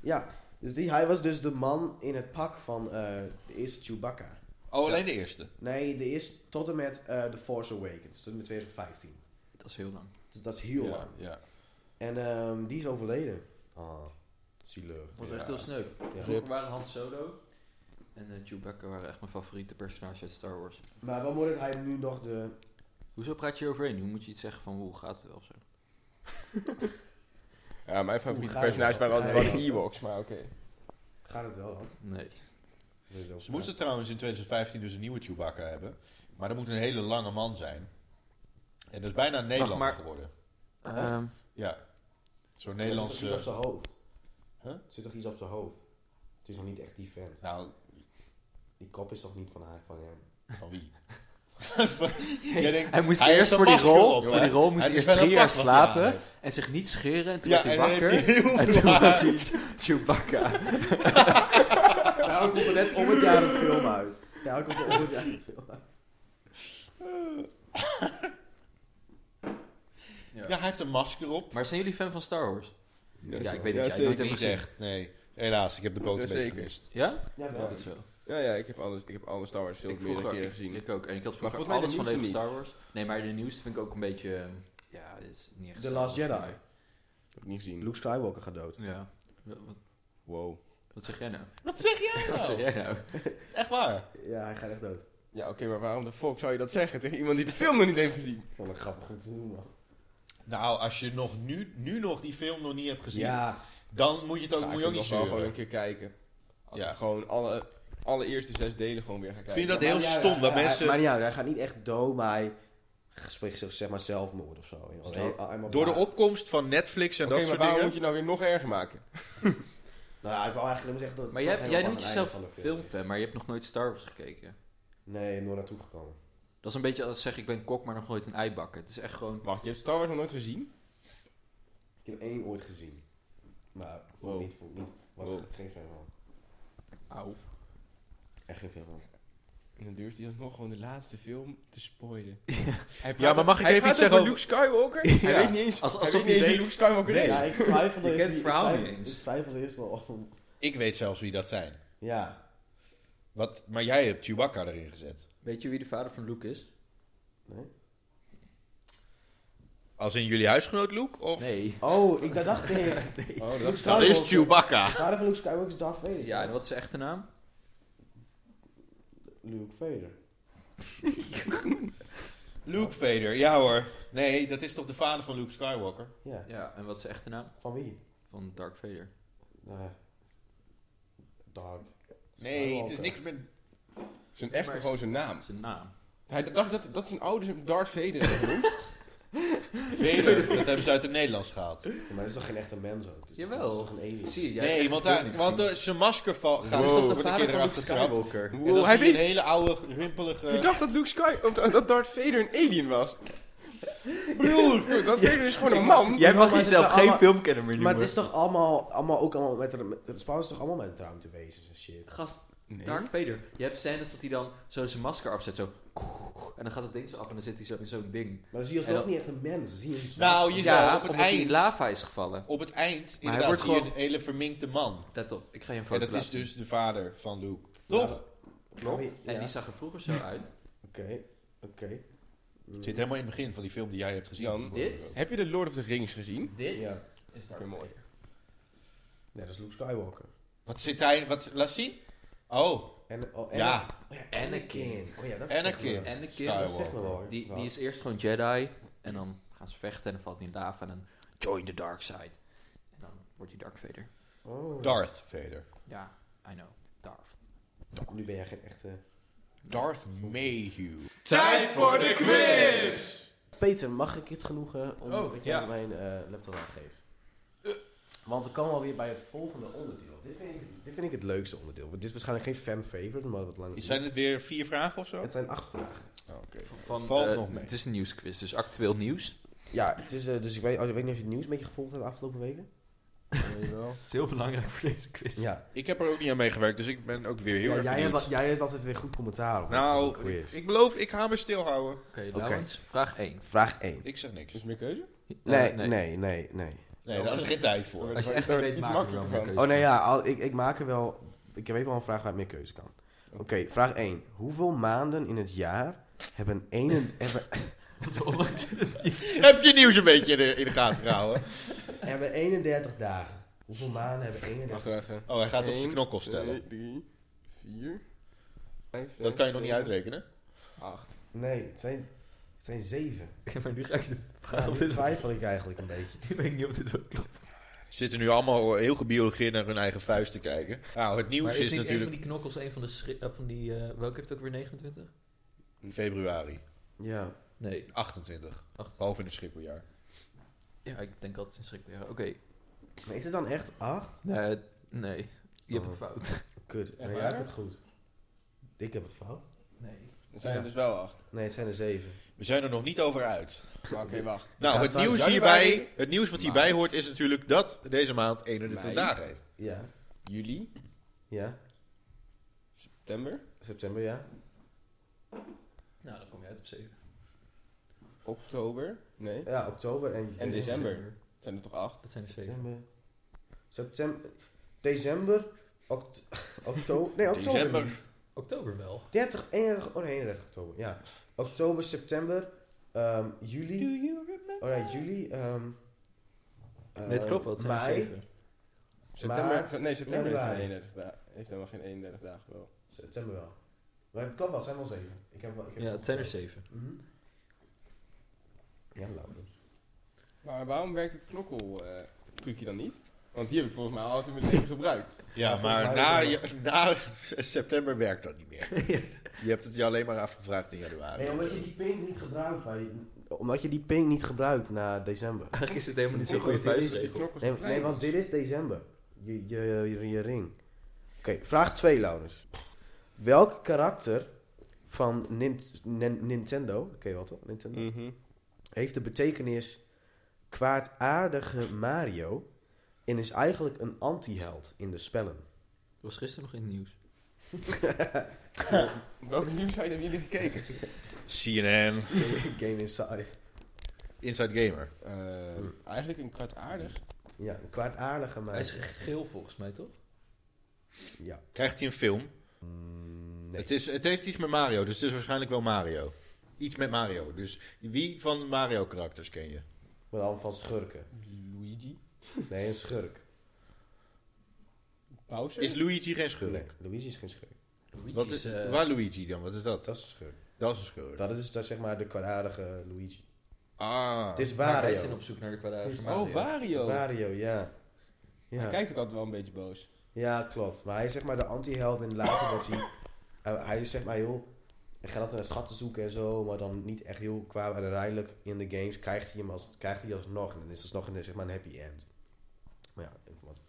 Ja, dus die, hij was dus de man in het pak van eh, de eerste Chewbacca. Oh, alleen de eerste. Nee, de eerste tot en met eh, The Force Awakens, tot en met 2015. Dat is heel lang. Dus dat is heel ja, lang. Ja. En ehm, die is overleden. Ah, zielig. was Ja. echt heel sneu. Ja. Vroeger waren Han Solo en eh, Chewbacca waren echt mijn favoriete personage uit Star Wars. Maar wel mooi dat hij nu nog de... Hoezo praat je hieroverheen? Hoe moet je iets zeggen van hoe gaat het wel of zo? Ja, mijn Hoe favoriete ga je personage dat? waren nou. altijd Ja, wel ja. de Ewoks, maar oké. Gaat het wel dan? Nee. Ze moesten trouwens in 2015 dus een nieuwe Chewbacca hebben. Maar dat moet een hele lange man zijn. En dat is bijna een Nederlander maar. geworden. Ehm, Ja. Zo'n eh, Nederlands... Nederlandse... Er zit toch iets op zijn hoofd? Huh? Er zit toch iets op zijn hoofd? Het is nog niet echt die vent. Nou, Die kop is toch niet van, haar, van hem? van wie? Jij denkt, hij moest hij heeft eerst een voor die masker rol, op, voor hè? die rol moest Hij hij is eerst wel drie een pak jaar wat hij aan slapen heeft. en zich niet scheren en toen Ja, werd en hij dan heeft wakker. hij heel en veel toen haar. was hij Chewbacca. Daarom komt er net om het jaar een film uit. Daarom komt er om het jaar een film uit. Ja, hij heeft een masker op. Maar zijn jullie fan van Star Wars? Ja, ik weet Ja, dat jij zeker. nooit Niet hebt gezien. echt, nee. Helaas, ik heb de boot een beetje Jazeker. gemist. Ja? Ja, Is wel. dat zo? Ja, ja, ik heb alle, ik heb alle Star Wars Ik films meerdere vroeger, keren ik, gezien. ik ook. En ik had Maar volgens vroeger mij de alles van Leven nieuwste Star Wars. Nee, maar de nieuwste vind ik ook een beetje... ehm, Ja, dit is niet echt The Star Last Wars voor Jedi. Heb ik niet gezien. Luke Skywalker gaat dood. mij. Ja. Wat, wat- Wow. wat zeg jij nou? Wat zeg jij Wat zeg nou? jij nou? Echt waar? Ja, hij gaat echt dood. Ja, oké, maar waarom de fuck zou je dat zeggen tegen iemand die de film nog niet heeft gezien? Ik vond het grappig om te doen, man. Nou, als je nog nu, nu nog die film nog niet hebt gezien, Ja, dan moet je het ook, Ga moet ik je ook nog niet wel zeuren. gewoon een keer kijken. Als Ja. ik gewoon alle allereerste zes delen gewoon weer gaan kijken. Vind je dat Ja, heel maar ja, stom ja, dat ja, mensen Maar ja, hij gaat niet echt dood, maar hij spreekt zich zeg maar zelfmoord of zo. Is dat- door de opkomst van Netflix en Oké, dat maar soort waarom dingen? moet je nou weer nog erger maken? Nou ja, ik wou eigenlijk alleen maar zeggen dat het Maar toch jij, helemaal jij aan noemt het einde jezelf van de is. filmfan, maar je hebt nog nooit Star Wars gekeken. Nee, nooit naartoe gekomen. Dat is een beetje als zeg ik ben kok, maar nog nooit een ei bakken. Het is echt gewoon... Wacht, je hebt Star Wars nog nooit gezien? Ik heb één ooit gezien. Maar vond ik Wow. niet, vond ik niet, was Wow. geen fan van. Auw. Echt geen fan van. En dan durft hij alsnog gewoon de laatste film te spoilen. Ja, maar mag ik even iets zeggen over Luke Skywalker? Hij Ja. weet niet eens, Als- hij alsof weet niet hij eens wie weet- Luke Skywalker Nee. is. Ja, ik twijfelde Je eerst- kent het ik verhaal twijfelde- niet eens. Ik twijfelde eerst wel om... Ik weet zelfs wie dat zijn. Ja, Wat, maar jij hebt Chewbacca erin gezet. Weet je wie de vader van Luke is? nee. Als in jullie huisgenoot Luke? Of? Nou, Nee. Oh, ik dat dacht Oh, ik. Luke dat Dat Skywalker. is Chewbacca. De vader van Luke Skywalker is Darth Vader. Ja, en wat is zijn echte naam? Luke Vader. Oh. Luke Vader, ja hoor. Nee, dat is toch de vader van Luke Skywalker? Ja, Ja, en wat is zijn echte naam? van wie? Van Dark Vader. Eh, Dark. Nee, het is Skywalker. niks met... zijn echte Maar- gewoon zijn naam. Zijn naam. Hij dacht dat, dat zijn ouders hem Darth Vader hebben genoemd. Vader. Dat hebben ze uit het Nederlands gehaald. Ja, maar dat is toch geen echte mens ook? Dus Jawel. Dat is toch een alien? Zie je, jij hebt Nee, echt want, de film hij- niet want gezien. eh, zijn masker va- gaat... Dat is toch Wow. de wordt een vader keer van Luke erachter getrapt. Skywalker? En dan hij zie je weet... een hele oude, rimpelige... Ik dacht dat Luke Skywalker, of dat Darth Vader een alien was. Broer! Darth Vader is gewoon een man. Jij mag Maar het is jezelf wel geen allemaal- film kennen meer Maar noemen. het is toch allemaal, allemaal ook allemaal met, de- met het spel is toch allemaal met ruimtewezens en shit. Gast, Nee. Dark Vader. Je hebt scènes dat hij dan zo zijn masker afzet, zo... En dan gaat het ding zo af en dan zit hij zo in zo'n ding. Maar dan zie je En alsnog dan- niet echt een mens. Dan zie je een zwart- Nou, je zou op het omdat hij in eind... lava is gevallen. Op het eind, hij inderdaad, wordt zie je gewoon- een hele verminkte man. Let op, ik ga je een En foto dat is laten dus de vader van Luke. Nou, Ja, Toch? Klopt. zien. En die zag er vroeger zo uit. Oké, oké. Mm, Het zit helemaal in het begin van die film die jij hebt gezien. Jan, dit? Heb je de Lord of the Rings gezien? Dit Ja, is Oké, Dark mooi. Vader. nee, dat is Luke Skywalker. Wat zit hij... Wat, laat zien. Oh, En, oh, Ja. Anakin. Oh ja, Anakin. Oh ja, dat Anakin. Zegt me wel. En de Skywalker. kind, dat zegt me wel. hoor. die, die Wel. is eerst gewoon Jedi. En dan gaan ze vechten en dan valt hij in lava. En dan join the dark side. En dan wordt hij Dark Vader. Oh. Darth Vader. Ja, I know. Darth. Nu ben jij geen echte... Darth Mayhew. Tijd voor de quiz! Peter, mag ik het genoegen om Oh, dat jij ja. mijn eh, laptop aangeeft? Want dan komen we alweer bij het volgende onderdeel. Dit vind ik, dit vind ik het leukste onderdeel. Want dit is waarschijnlijk geen fan favorite, maar wat langer. Zijn het weer vier vragen of zo? Het zijn acht vragen. Oh, Oké. Van, Valt eh, nog mee. Het is een nieuwsquiz, dus actueel nieuws. Ja, het is, eh, dus ik weet, ik weet niet of je het nieuws een beetje gevolgd hebt de afgelopen weken. Het is heel belangrijk voor deze quiz. Ja. Ik heb er ook niet aan meegewerkt, dus ik ben ook weer heel Ja, erg jij, hebt, benieuwd. al- jij hebt altijd weer goed commentaar op op de Nou, ik, quiz. ik beloof, ik ga me stilhouden. Oké, Laurens, vraag Eh, 1. Vraag 1. Ik Eh, zeg niks. Dus meer keuze? Nee, nee, nee, nee, Nee, daar is geen tijd voor. voor. Als je Daar echt word niet ik weet, iets maak ik er makkelijker wel meer van. keuze Oh nee, van. ja, al- ik, ik maak er wel... Ik heb even wel een vraag waar meer keuze kan. Oké, vraag 1. Hoeveel maanden in het jaar hebben, ene, hebben, Heb je nieuws een beetje in de, in de gaten gehouden? hebben 31 dagen? Hoeveel maanden hebben 31 Wacht even. Oh, hij gaat op zijn Eén, knokkels tellen. twee, drie, vier, vijf, Dat kan je nog niet uitrekenen. Acht. Nee, het zijn, het zijn 7. maar nu ga ik dit Ja, vragen. nu of dit twijfel ik eigenlijk een beetje. ik weet niet of dit wel klopt. Zitten nu allemaal heel gebiologeerd naar hun eigen vuist te kijken. Nou, het nieuws Maar is, is niet een van natuurlijk die knokkels een van de... schri- eh, van die eh, welke heeft ook weer 29? februari Ja. Nee, 28. 8. Behalve in het Schipperjaar. Ja, ik denk altijd in schrik. Oké, Maar is het dan echt 8? nee, nee. Je hebt Oh. het fout. Kut. Echt Nee, jij waar? hebt het goed. Ik heb het fout. Nee. Er zijn Ja. er dus wel acht. Nee, het zijn er 7. We zijn er nog niet over uit. Maar Oké, wacht. Nou, gaat het zijn nieuws, januari, hierbij, het nieuws wat hierbij maart. hoort is natuurlijk dat deze maand 31 Mei. dagen heeft. Ja. Juli, Ja. september, September, ja. Nou, dan kom je uit op 7. oktober. Nee, Ja, oktober en... En december. zijn er toch acht? Dat zijn er 7. September. September. December. Oct oktober. Nee, oktober December. niet. Oktober wel. 30, 31, oh nee, 31 oktober, ja. Oktober, september, ehm, juli. Oh nee, juli. ehm eh, nee, het klopt wel. Het zijn er mei. 7. September, Maart, nee, september heeft, geen januari. 31 dagen, heeft helemaal geen 31 dagen wel. September wel. Maar het klopt wel, het zijn wel zeven. Ik heb wel, ik heb Ja, wel- het zijn er 7. Mhm. Ja, Laurens. Maar waarom werkt het knokkel eh, trucje dan niet? Want die heb ik volgens mij altijd in mijn leven gebruikt. Ja, Ja, maar volgens na, mij is je- na september werkt dat niet meer. Je hebt het je alleen maar afgevraagd in januari. Nee, omdat je die pink niet gebruikt bij... Omdat je die pink niet gebruikt na december. Eigenlijk is het helemaal niet zo'n Ik goede weet niet, vuistregel. knokkels Nee, nee, want dit is december. Je, je, je, je ring. Oké, vraag 2, Laurens. Welk karakter van Nint- Nin- Nintendo, ken je wel toch, Nintendo, Mm. Mhm. heeft de betekenis kwaadaardige Mario en is eigenlijk een anti-held in de spellen? Dat was gisteren nog in het nieuws. Welke nieuwsite hebben jullie gekeken? CNN, Game Inside. Inside Gamer. Eh, Eigenlijk een kwaadaardig. Ja, een kwaadaardige Hij is Mario. geel volgens mij, toch? Ja. Krijgt hij een film? Mm, nee. Het, is, het heeft iets met Mario, dus het is waarschijnlijk wel Mario. Iets met Mario. Dus wie van de Mario-karakters ken je? Maar dan van schurken. Luigi. Nee, een schurk. Bowser. Is Luigi geen schurk? Nee, Luigi is geen schurk. Luigi Wat is, is, eh, waar Luigi dan? Wat is dat? Dat is een schurk. Dat is een schurk. Dat is, dus, dat is zeg maar de kwaadaardige Luigi. ah, Het is Maar wij Wario. zijn op zoek naar de kwadraat. Oh, Wario. Wario, ja. Hij Ja. kijkt ook altijd wel een beetje boos. ja, klopt. Maar hij is zeg maar de anti-held in de laatste dat hij... hij- hij is zeg maar heel... Hij gaat altijd naar schatten zoeken en zo, maar dan niet echt heel kwaad. En uiteindelijk in de games krijgt hij hem als, krijgt hij alsnog. En dan is het alsnog een, zeg maar een happy end. Maar ja, ik- wat-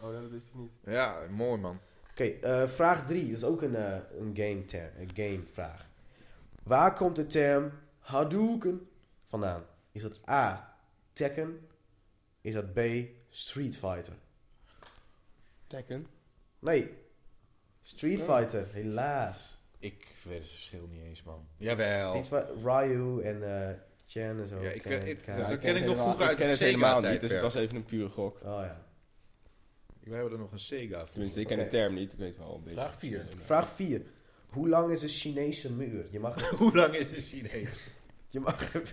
Oh, dat wist ik niet. ja, mooi man. Oké, eh, vraag 3. Dat is ook een, eh, een, game ter, een game vraag. Waar komt de term Hadouken vandaan? Is dat A, Tekken? Is dat B, Street Fighter? Tekken. Nee. Street Oh. Fighter, helaas. Ik weet het verschil niet eens, man. Jawel. Street Fighter, Ryu en eh Chen en zo. Ja, ik- Ken- ik- Ken- dat Ja, ken Oh ik nog helemaal- vroeger uit ken het het helemaal niet, Sega-tijdperk. dus het was even een pure gok. ja. Wij hebben er nog een Sega voor. Tenminste, ik ken Oké. de term niet, ik weet wel een beetje. Vraag vier. Vraag 4. Hoe lang is een Chinese muur? Je mag, Hoe lang is een Chinees? je mag, er,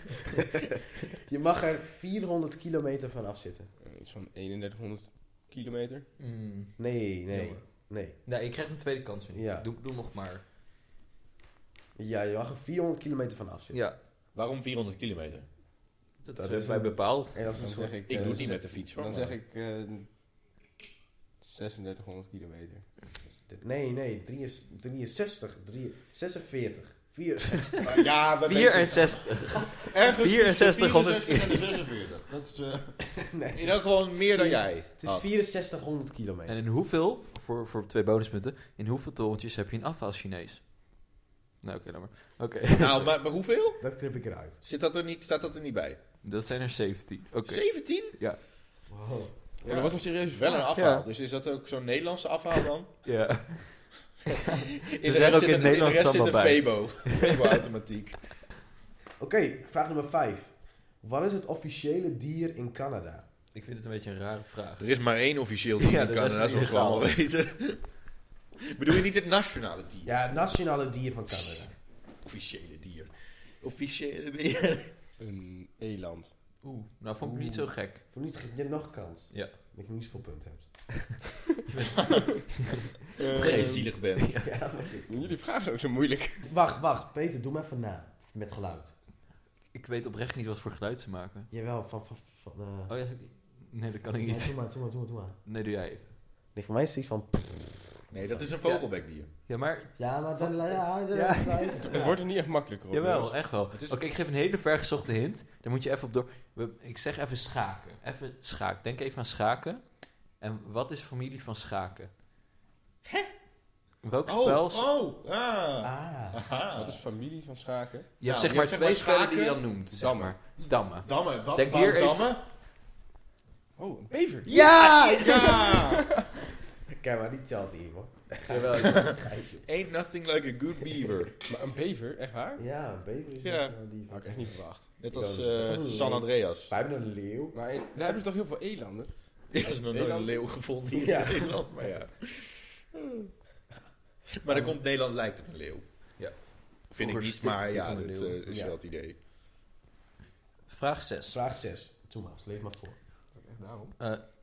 je mag er 400 kilometer van afzitten. Eh, Iets van 3100 kilometer. Mm, Nee, nee, jammer. nee. Nee, je krijgt een tweede kans, vind ik. Ja. Doe, doe nog maar. Ja, je mag er 400 kilometer van afzitten. Ja, Waarom 400 kilometer? dat, Dat is is bij een- bepaald. En dat is Dan een soort... zeg ik, Ik eh, doe het niet ze- met de fiets, hoor, Dan maar- zeg ik eh, 3600 kilometer. Nee, nee, 63, 46, 44, 64. Ja, dat denk ik. 64. Ergens tussen 64, 64 en de 46. Dat is eh, Nee, in elk geval meer dan jij. het is 6400 kilometer. En in hoeveel, voor, voor twee bonuspunten, in hoeveel torentjes heb je een afhaal Chinees? Nou, oké, dan maar. Oké, Nou, maar, maar hoeveel? Dat knip ik eruit. Zit dat er niet, staat dat er niet bij? dat zijn er 17. Oké. 17? Wow. Maar dat was een serieus Dus wel een afhaal. Ja. Dus is dat ook zo'n Nederlandse afhaal dan? Ja. Ze zeggen ook in het Nederlands In de rest zit allemaal een bij. Febo. Febo-automatiek. Oké, vraag nummer 5. Wat is het officiële dier in Canada? Ik vind het een beetje een rare vraag. er is maar één officieel Ja, dier de in rest Canada, zoals is we illegaal. allemaal weten. Bedoel je niet het nationale dier? Ja, het nationale dier van Canada. Officiële dier. Officiële dier. Een eland. Oeh, nou vond ik niet zo gek. Voor niets geef je nog kans. Ja. Dat je niet zoveel punten hebt. Geen zielig bent. Ja, maar ik- Jullie vragen zijn ook zo moeilijk. wacht, wacht. Peter, doe maar even na. Met geluid. Ik weet oprecht niet wat voor geluid ze maken. Jawel, van... van, van eh, Oh ja, nee, dat kan ik ja, niet. doe maar, doe maar, doe maar, doe maar. Nee, doe jij even. Nee, voor mij is het iets van... Nee, dat is een vogelbekdier. Ja, maar... Ja, maar... dat- ja, dat- Ja. dat is- Het wordt er niet echt makkelijker op. Jawel, jongens. echt wel. Oké, ik geef een hele vergezochte hint. Dan moet je even op door... we- Ik zeg even schaken. Even schaak. Denk even aan schaken. En wat is familie van schaken? Hè? Welk spel... Oh, oh, ah. Ah. Aha. Wat is familie van schaken? Je Nou, hebt zeg maar je hebt zeg twee maar spellen die je dan schaken, noemt. zeg dammen. maar. Dammen. Dammen, wat? Denk Denk hier hier even- dammen? Oh, een bever. Ja! Ja! Kijk maar, die telt niet, man. Jawel, ja. Geitje. Ain't nothing like a good beaver. Maar een bever, echt waar? Ja, een bever is Ja. nationaal dier van Had ik echt niet verwacht. Net als Dat eh, is- San Andreas. Wij hebben een leeuw. Maar een- daar hebben ze toch heel veel elanden? Er is nog nooit een eh, leeuw gevonden hier Ja. in Nederland, maar ja. Maar dan komt Nederland lijkt op een leeuw. Ja. Vind ik Vroeger niet, stikte maar die ja, van de dat leeuw. eh, is Ja. wel het idee. Vraag 6. Vraag 6. Thomas, leef maar voor. Echt daarom.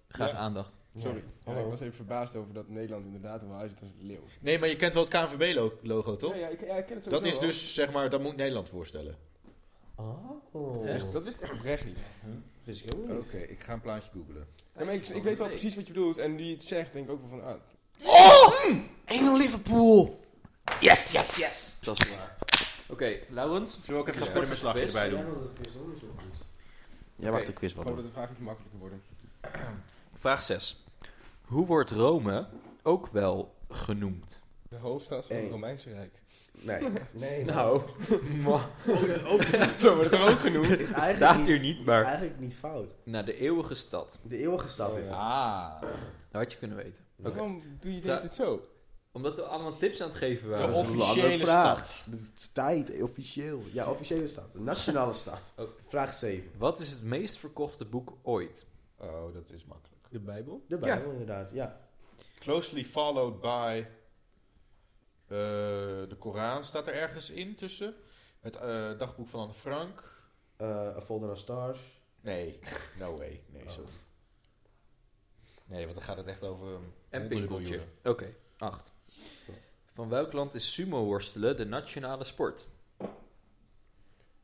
graag Ja. aandacht. Sorry. Ja. Ja, ik Hallo. was even verbaasd over dat Nederland inderdaad wel uitziet als een leeuw. Nee, maar je kent wel het KNVB-logo, toch? Ja, ja, ik, ja, ik ken het dat sowieso is wel. dus, zeg maar, dat moet Nederland voorstellen. Oh. Echt, dat wist ik echt oprecht niet. Wist ik ook Oké, niet. ik ga een plaatje googlen. Ja, maar Oh. ik, ik weet wel precies wat je bedoelt en die het zegt, denk ik ook wel van, ah, 1-0 Liverpool. Yes, yes, yes. Dat is waar. Oké, Laurens. Zullen we ook even Ja. een sportverslagje Quiz? erbij doen? Jij mag de quiz ik wel hoop doen. dat de vraag iets makkelijker worden. Vraag 6. Hoe wordt Rome ook wel genoemd? De hoofdstad van het Hey. Romeinse Rijk. Nee. Nee. Nou, Zo wordt het dan ook het genoemd. is het eigenlijk staat niet- hier niet, het is maar eigenlijk niet fout. naar de eeuwige stad. De eeuwige stad is het. Ah, Dat had je kunnen weten. Oké. Waarom doe je Da- dit, dit zo? Omdat we allemaal tips aan het geven de waren. is een lange officiële vraag. stad. De tijd, officieel. Ja, officiële stad. De nationale stad. Oh. Vraag 7. Wat is het meest verkochte boek ooit? Oh, dat is makkelijk. De Bijbel? De Bijbel, inderdaad. Ja. Closely followed by... eh, de Koran staat er ergens in tussen. Het eh, dagboek van Anne Frank. Eh A Folder of Stars. Nee, no way. Nee, Oh. sorry. Nee, want dan gaat het echt over... um, En honderden pinkeltje. miljoenen. Oké, 8. Van welk land is sumo-worstelen de nationale sport?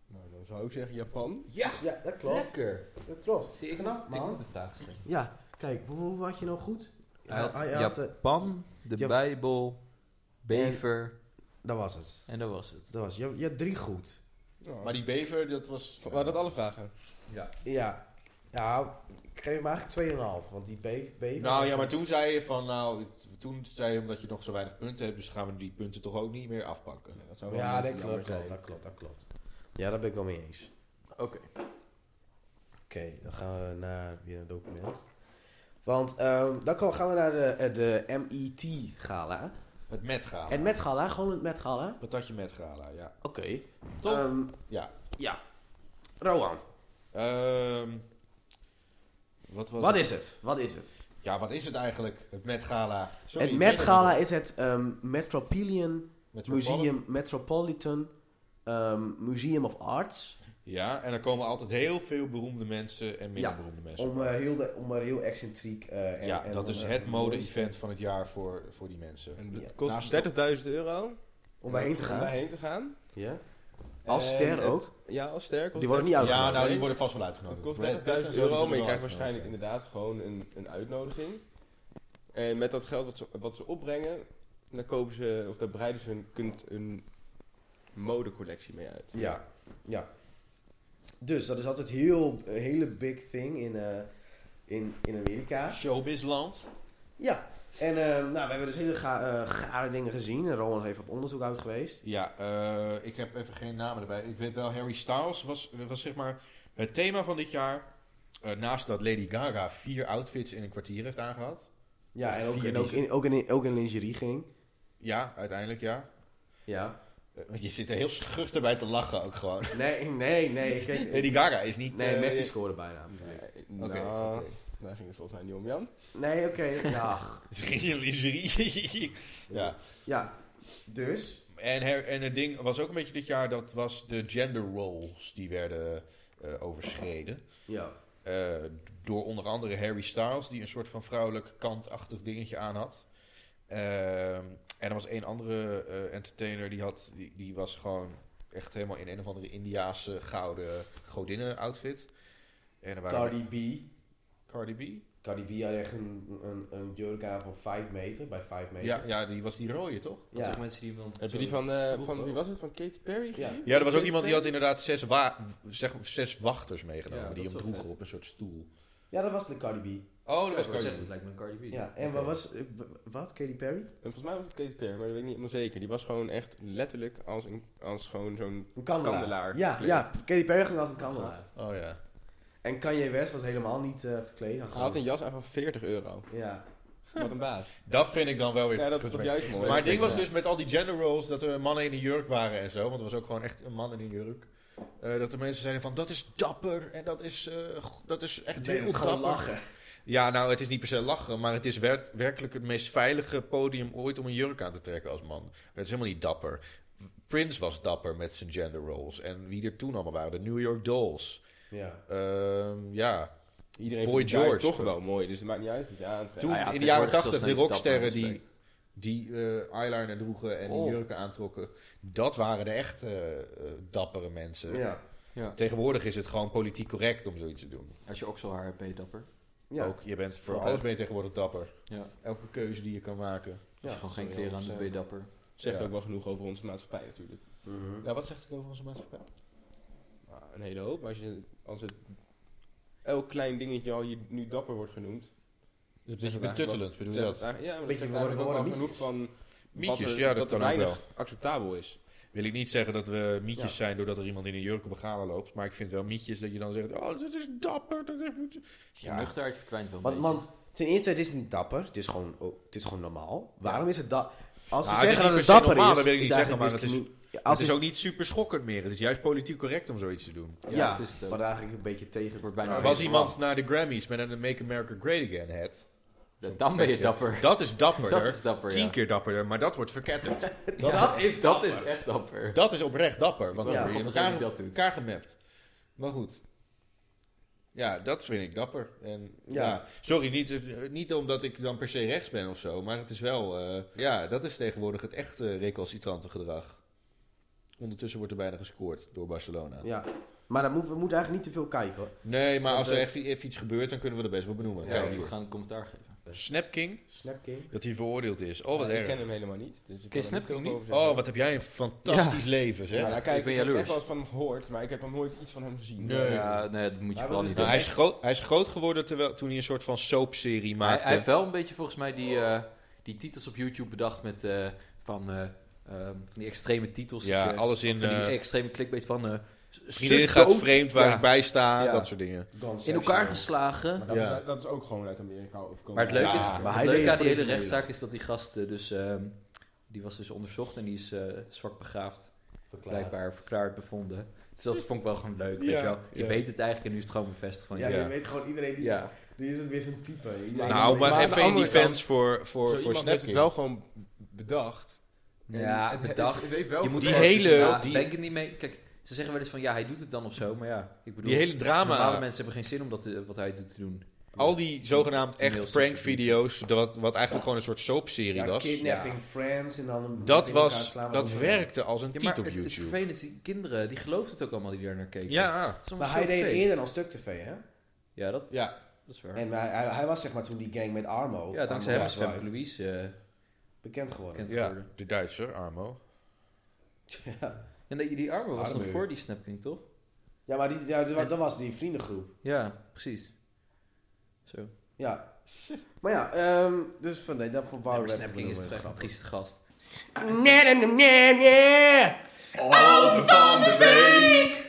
Nou, dan zou ik zeggen Japan. Ja, Ja, dat klopt. lekker. Dat klopt. Zie ik Knap, Ik man. moet de vraag stellen. Ja, kijk, hoe, hoe had je nou goed? Hij had Hij eh, Japan, de Ja. Bijbel, Bever dat was het. en dat was het. Dat was, je, je had drie goed. Ja. Maar die bever, dat was... Waren Oh. dat alle vragen? Ja. Ja. Ja, ik geef hem eigenlijk 2,5. Want die B... B Nou ja, maar toen zei je van, nou, het- toen zei je omdat je nog zo weinig punten hebt, dus gaan we die punten toch ook niet meer afpakken. Ja, dat zou wel Ja, een dat beetje klopt, jammer klopt, zijn. dat klopt, dat klopt. Ja, daar ben ik wel mee eens. Oké. Oké, dan gaan we naar weer een document. Want ehm, dan kan- gaan we naar de, eh, de MET-gala. Het metgala. En met gala, gewoon het met gala. Patatje metgala, ja. Oké. Toch? Ehm, Ja. ja. Rowan, Ehm, wat was wat is het? Wat is het? Ja, wat is het eigenlijk, het metgala? Sorry, het ik Met weet Gala niet. is het ehm Metropolitan Metropolitan. Museum, Metropolitan ehm, Museum of Arts. Ja, en er komen altijd heel veel beroemde mensen en minder Ja, beroemde mensen. Om, eh, heel de, om er heel excentriek... eh, en, ja, en dat om, is eh, het mode-event van het jaar voor, voor die mensen. En dat Ja. Naast- kost 30.000 euro. Om daarheen te Om gaan. daarheen te gaan. Ja. Als En ster het- ook. Ja, als ster. kost Die worden niet het- Ja, uitgenodigd. uitgenodigd. nou, die worden vast wel uitgenodigd. Het kost Brad 30.000 Pitt en zo, die euro, zullen maar je wel krijgt uitgenodigd waarschijnlijk inderdaad gewoon een, een uitnodiging. En met dat geld wat ze, wat ze opbrengen, dan kopen ze, of dan breiden ze hun, kunt een modecollectie mee uit. Ja, ja. Dus dat is altijd heel, een hele big thing in, eh, in, in Amerika. Showbizland. Ja, en eh, nou, we hebben dus hele ga, eh, gare dingen gezien. En Roland is even op onderzoek uit geweest. Ja, eh, ik heb even geen namen erbij. Ik weet wel, Harry Styles was, was zeg maar het thema van dit jaar. Eh, naast dat Lady Gaga vier outfits in een kwartier heeft aangehad. Ja, en ook, Vier en ook, in, ook, in, ook in lingerie ging. Ja, uiteindelijk ja. Ja. Eh, want je zit er heel schuchter bij te lachen ook gewoon. Nee, nee, nee. Kijk, Lady Gaga is niet... nee, eh, Messi scoorde bijna. Nee, eh, Oké, nou, oké. daar ging het volgens mij niet om, Jan. Nee, oké. Ja. Ze ging in lingerie. ja. ja, dus. En, her- en het ding was ook een beetje dit jaar, dat was de gender roles die werden eh, overschreden. Ja. Eh, door onder andere Harry Styles, die een soort van vrouwelijk kantachtig dingetje aan had. Ehm, en er was één andere eh, entertainer die, had, die, die was gewoon echt helemaal in een of andere Indiaanse gouden godinnen outfit. En er waren Cardi B. Cardi B? Cardi B had echt een, een, een jurk aan van 5 meter bij 5 meter. Ja, ja, die was die rode toch? Dat Ja. zijn mensen die dan... Heb je die van, eh, Vroeg van wel. wie was het? Van Katy Perry Ja. gezien? Ja, er was ook iemand die had inderdaad zes, wa- zeg, zes wachters meegenomen. Ja, dat die is hem wel droegen vet. op een soort stoel. ja, dat was de Cardi B. Oh, dat was Ja, ik wou Cardi zeggen, B. het lijkt me een Cardi B. Ja, en wat was... eh, w- Wat? Katy Perry? En volgens mij was het Katy Perry, maar dat weet ik niet helemaal zeker. Die was gewoon echt letterlijk als, een, als gewoon zo'n... Een kandelaar. Kandelaar. Ja, Gekleed. ja, Katy Perry ging als een kandelaar. Oh ja. En Kanye West was helemaal niet eh, verkleed. Hij had een jas aan van 40 euro. Ja. Wat een baas. Dat vind ik dan wel weer Ja, dat is toch juist mooi. Maar het ding Uitstekend, was dus met al die gender roles dat er mannen in een jurk waren en zo. Want er was ook gewoon echt een man in een jurk. Eh, dat er mensen zeiden van dat is dapper en dat is, eh, go- dat is echt Nee, heel is gewoon dapper. lachen. Ja, nou het is niet per se lachen, maar het is wer- werkelijk het meest veilige podium ooit om een jurk aan te trekken als man. Het is helemaal niet dapper. Prince was dapper met zijn gender roles. En wie er toen allemaal waren, de New York Dolls. Ja. Ehm, ja, Iedereen Boy vindt die guy George. toch wel mooi, dus het maakt niet uit wat je aantrekt. toen Nou ja, in de jaren tegenwoordig is dat tachtig de steeds rocksterren dapper, die, die eh, eyeliner droegen en Oh. die jurken aantrokken. Dat waren de echt eh, eh, dappere mensen. Ja. Ja. Tegenwoordig is het gewoon politiek correct om zoiets te doen. Als je okselhaar hebt, ben je dapper. Ja. Ook, je bent voor Wat alles echt. ben je tegenwoordig dapper. Ja. Elke keuze die je kan maken. Als je gewoon geen kleren aan hebt, ben je dapper. Zegt Ja. ook wel genoeg over onze maatschappij natuurlijk. Mhm. Ja, wat zegt het over onze maatschappij? Nou, een hele hoop. Maar Als, je, als het elk klein dingetje al je nu dapper wordt genoemd. Dus Zeg dat je het betuttelend, bedoel je zegt het dat? eigenlijk- Ja, maar dat Beetje zegt worden- eigenlijk ook wel worden genoeg van wat Mietjes, er, ja, dat, dat er kan ook weinig wel. acceptabel is. Wil ik niet zeggen dat we mietjes Ja. zijn doordat er iemand in een jurk op een gala loopt. Maar ik vind wel mietjes dat je dan zegt, oh, dat is dapper. Dat is... Ja. Ja, Nuchterheid verdwijnt wel een Want, beetje. want ten eerste, het is niet dapper. Het is gewoon, oh, het is gewoon normaal. Waarom is het dapper? Als ze Nou, het is niet zeggen dat het per se dapper normaal, is, dat wil ik niet is zeggen, eigenlijk maar het discrimi- Ja, het als is ook niet super schokkend meer. Het is juist politiek correct om zoiets te doen. Ja, Ja, dat is het ook. maar daar eigenlijk een beetje tegen. Het wordt bijna was feest. iemand naar de Grammys met een Make America Great Again hat. Ja, Dan ben je Beetje. dapper. Dat is dapperder. Dat is dapper, Tien ja. keer dapperder, maar dat wordt verketterd. Ja, Dat is dat is echt dapper. dat is oprecht dapper, want Want Ja. dan ja, ben je in degene die elkaar, dat doet. elkaar gemapt. Maar goed. Ja, dat vind ik dapper. En, ja. Ja. sorry, niet, eh, niet omdat ik dan per se rechts ben of zo, maar het is wel... eh, ja, dat is tegenwoordig het echte recalcitrante gedrag. Ondertussen wordt er bijna gescoord door Barcelona. Ja. Maar dat moet, we moeten eigenlijk niet te veel kijken hoor. Nee, maar Want, als er eh, echt i- if iets gebeurt, dan kunnen we dat best wel benoemen. Ja, Kijk, we gaan een commentaar geven. Snapking, Snapking. dat hij veroordeeld is. Oh, wat Ja, ik erg. ken hem helemaal niet. Dus ik Ken je kan er Snapking veel niet? over zeggen. Oh, wat heb jij een fantastisch leven, zeg. Ja, Nou, nou, kijk, ik ik, ben heb jaloers. echt wel eens van hem gehoord, maar ik heb nog nooit iets van hem gezien. Nee. Ja, nee, dat moet je Hij vooral was niet dus doen. Nou, hij, is groot, hij is groot geworden terwijl, toen hij een soort van soapserie Hij, maakte. hij heeft wel een beetje volgens mij die, eh, die titels op YouTube bedacht met eh, van, eh, ehm, van die extreme titels. Ja, Dus, eh, alles in, Van die eh, extreme clickbait van... eh Vriendin zus gaat dood. vreemd waar Ja. ik bij sta, Ja. dat soort dingen. In elkaar geslagen. Maar dat, Ja. is, dat is ook gewoon uit Amerika overkomen. Maar het leuke is, Ja, maar het hij deed leuke aan die voor hele de rechtszaak is dat die gast eh, dus, ehm, die was dus onderzocht en die is eh, zwak begaafd, blijkbaar verklaard bevonden. Dus dat vond ik wel gewoon leuk, weet Ja, je wel. Je ja. weet het eigenlijk en nu is het gewoon bevestigd van Ja, ja. Ja. je weet gewoon iedereen die... Ja. Die is het weer zo'n type. Iedereen- Nou, Nou, maar, maar aan de even in andere defense voor, voor, Zo voor iemand heeft het Snapking. wel gewoon bedacht. En Ja, het- bedacht. het- het heeft wel Je moet Oh, Die gewoon- hele- ja, die- denk het niet mee. Kijk, ze zeggen wel eens van ja, hij doet het dan of zo, maar ja, ik bedoel, Die hele normale drama, mensen hebben geen zin om dat, eh, wat hij doet te doen. al die zogenaamd Die echt mails prankvideo's, dat- wat, wat eigenlijk gewoon een soort soapserie Ja, was. kidnapping friends en dan... een- Dat, in elkaar was, slaan, dat wat- werkte als een Ja, maar titel het, op het YouTube. vervelende is, die kinderen, die geloofden het ook allemaal die daar naar keken. Ja, Het is allemaal Maar hij zo deed fake. eerder dan stuk tv, hè? Ja, dat, ja, dat is waar. En hij, hij, hij was zeg maar toen die gang met Armo... ja, dankzij hem Armo is White Femke Louise eh, Bekend geworden. bekend ja, geworden. de Duitser, Armo. Ja. En die, die Arme was nog Arme. voor die Snapking, toch? Ja, maar die, ja, dat was die vriendengroep. Ja, precies. Zo. Ja. Maar ja, ehm, dus van nee, dat voor Bauer. Snapking is toch echt een trieste gast. Nee, nee, nee, nee. Album van de week!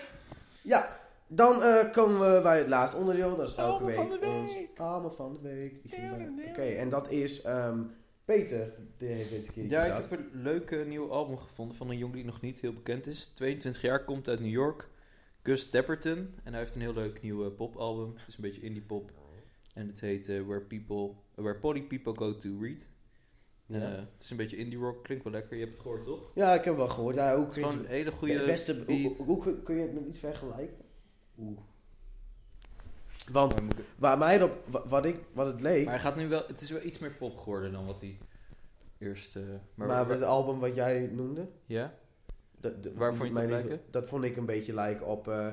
Ja, dan eh, komen we bij het laatste onderdeel. Dat is elke week ons Allemaal van de week. Die ging bijna- Oké, en dat is ehm, Peter. Die heeft deze keer Ja, ik bedacht. heb een leuke nieuwe album gevonden van een jongen die nog niet heel bekend is. 22 jaar, komt uit New York. Gus Dapperton. En hij heeft een heel leuk nieuw eh, popalbum. Het is een beetje indie pop. En het heet eh, Where People... Where Potty People Go To Read. Ja. Eh, het is een beetje indie rock. Klinkt wel lekker. Je hebt het gehoord, toch? Ja, ik heb wel gehoord. Ja, hoe Het kun is je, gewoon een hele de goede beste, hoe- beat. hoe, hoe kun je het met iets vergelijken? Oeh. Want waar mij op, wa- wat, ik, wat het leek, Maar hij gaat nu wel... Het is wel iets meer pop geworden dan wat hij eerst... eh, maar, met het album wat jij noemde, ja? dat, dat- Waar vond je het op mijn- lijken? Dat vond ik een beetje lijken op eh,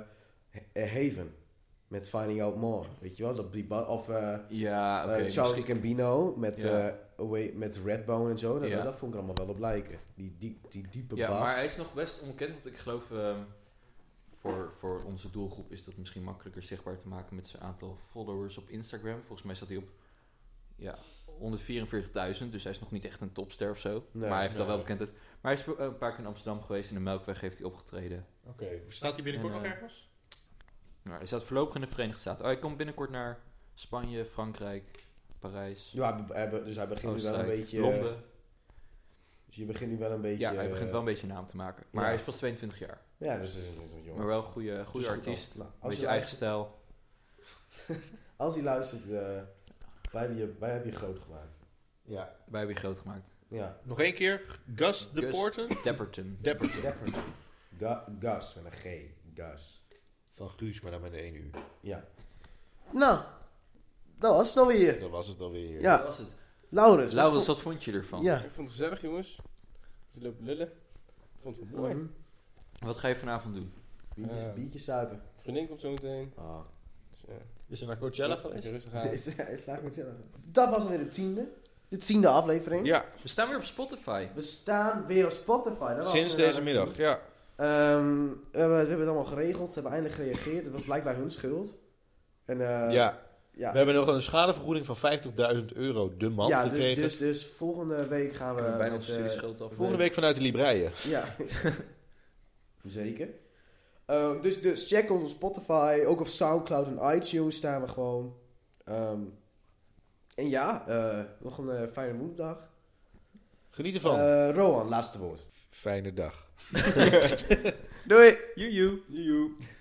He- Haven. Met Finding Out More, weet je wel? Dat, die ba- of eh, Ja, Ah, oké. Eh, Charles misschien- Gambino met, Ja. eh, Away, met Redbone en zo. Dat, Ja. dat vond ik er allemaal wel op lijken. Die, diep- die diepe Ja, bas. maar hij is nog best onbekend, want ik geloof ehm, voor, voor onze doelgroep is dat misschien makkelijker zichtbaar te maken met zijn aantal followers op Instagram. Volgens mij staat hij op ja, 144.000, dus hij is nog niet echt een topster of zo. Nee, maar hij heeft al nee. wel bekendheid. Maar hij is eh, een paar keer in Amsterdam geweest, in de Melkweg heeft hij opgetreden. Oké, staat hij binnenkort En, nog eh, ergens? Maar hij staat voorlopig in de Verenigde Staten. Oh, hij komt binnenkort naar Spanje, Frankrijk, Parijs, Ja, hij be- hij be- dus hij begint nu wel een Oostenrijk, beetje... Londen. Dus je begint nu wel een beetje... ja, hij begint eh, wel een beetje naam te maken. Maar ja. hij is pas 22 jaar. Ja, dus dat is een jongen. Maar wel een goede, goede Dus goed al. artiest. Nou, als Een beetje je eigen luistert, stijl. Als hij luistert, eh, wij, hebben je, wij hebben je groot gemaakt. Ja. Wij hebben je groot gemaakt. Ja, Nog één keer. Gus de Gus. Porten. Dapperton. Depperton. Dapper. Ga- Gas, met een G. Gas. Van Guus, maar dan met één uur. Ja. Nou, dat was het alweer. Dat was het alweer. Ja, Dat was het. Laurens. wat Laurens, vond- wat vond je ervan? Ja. Ik vond het gezellig, jongens. Ze lopen lullen. Ik vond het wel mooi. Mooi. Wat ga je vanavond doen? Biertjes, Eh. biertjes zuipen. Vriendin komt zo meteen. Ah. Dus, eh, Is er naar Coachella geweest? lekker rustig aan. Dat was weer de tiende. De tiende aflevering. Ja, We staan weer op Spotify. We staan weer op Spotify. Dat was sinds inderdaad deze een middag. tiende. Ja. Ehm, we, hebben, we hebben het allemaal geregeld. Ze hebben eindelijk gereageerd. Het was blijkbaar hun schuld. En, eh, ja. ja. We hebben nog een schadevergoeding van 50.000 euro de man Ja, dus, gekregen. dus, dus volgende week gaan we... We hebben bijna met, onze eh, studieschuld af. Volgende week vanuit de Libreien. Ja. Zeker. Ehm, dus, dus check ons op Spotify. Ook op Soundcloud en iTunes staan we gewoon. Ehm, en ja, eh, nog een eh, fijne woensdag. Geniet ervan. Eh, Rohan, laatste woord. Fijne dag. Doei! Joejoe.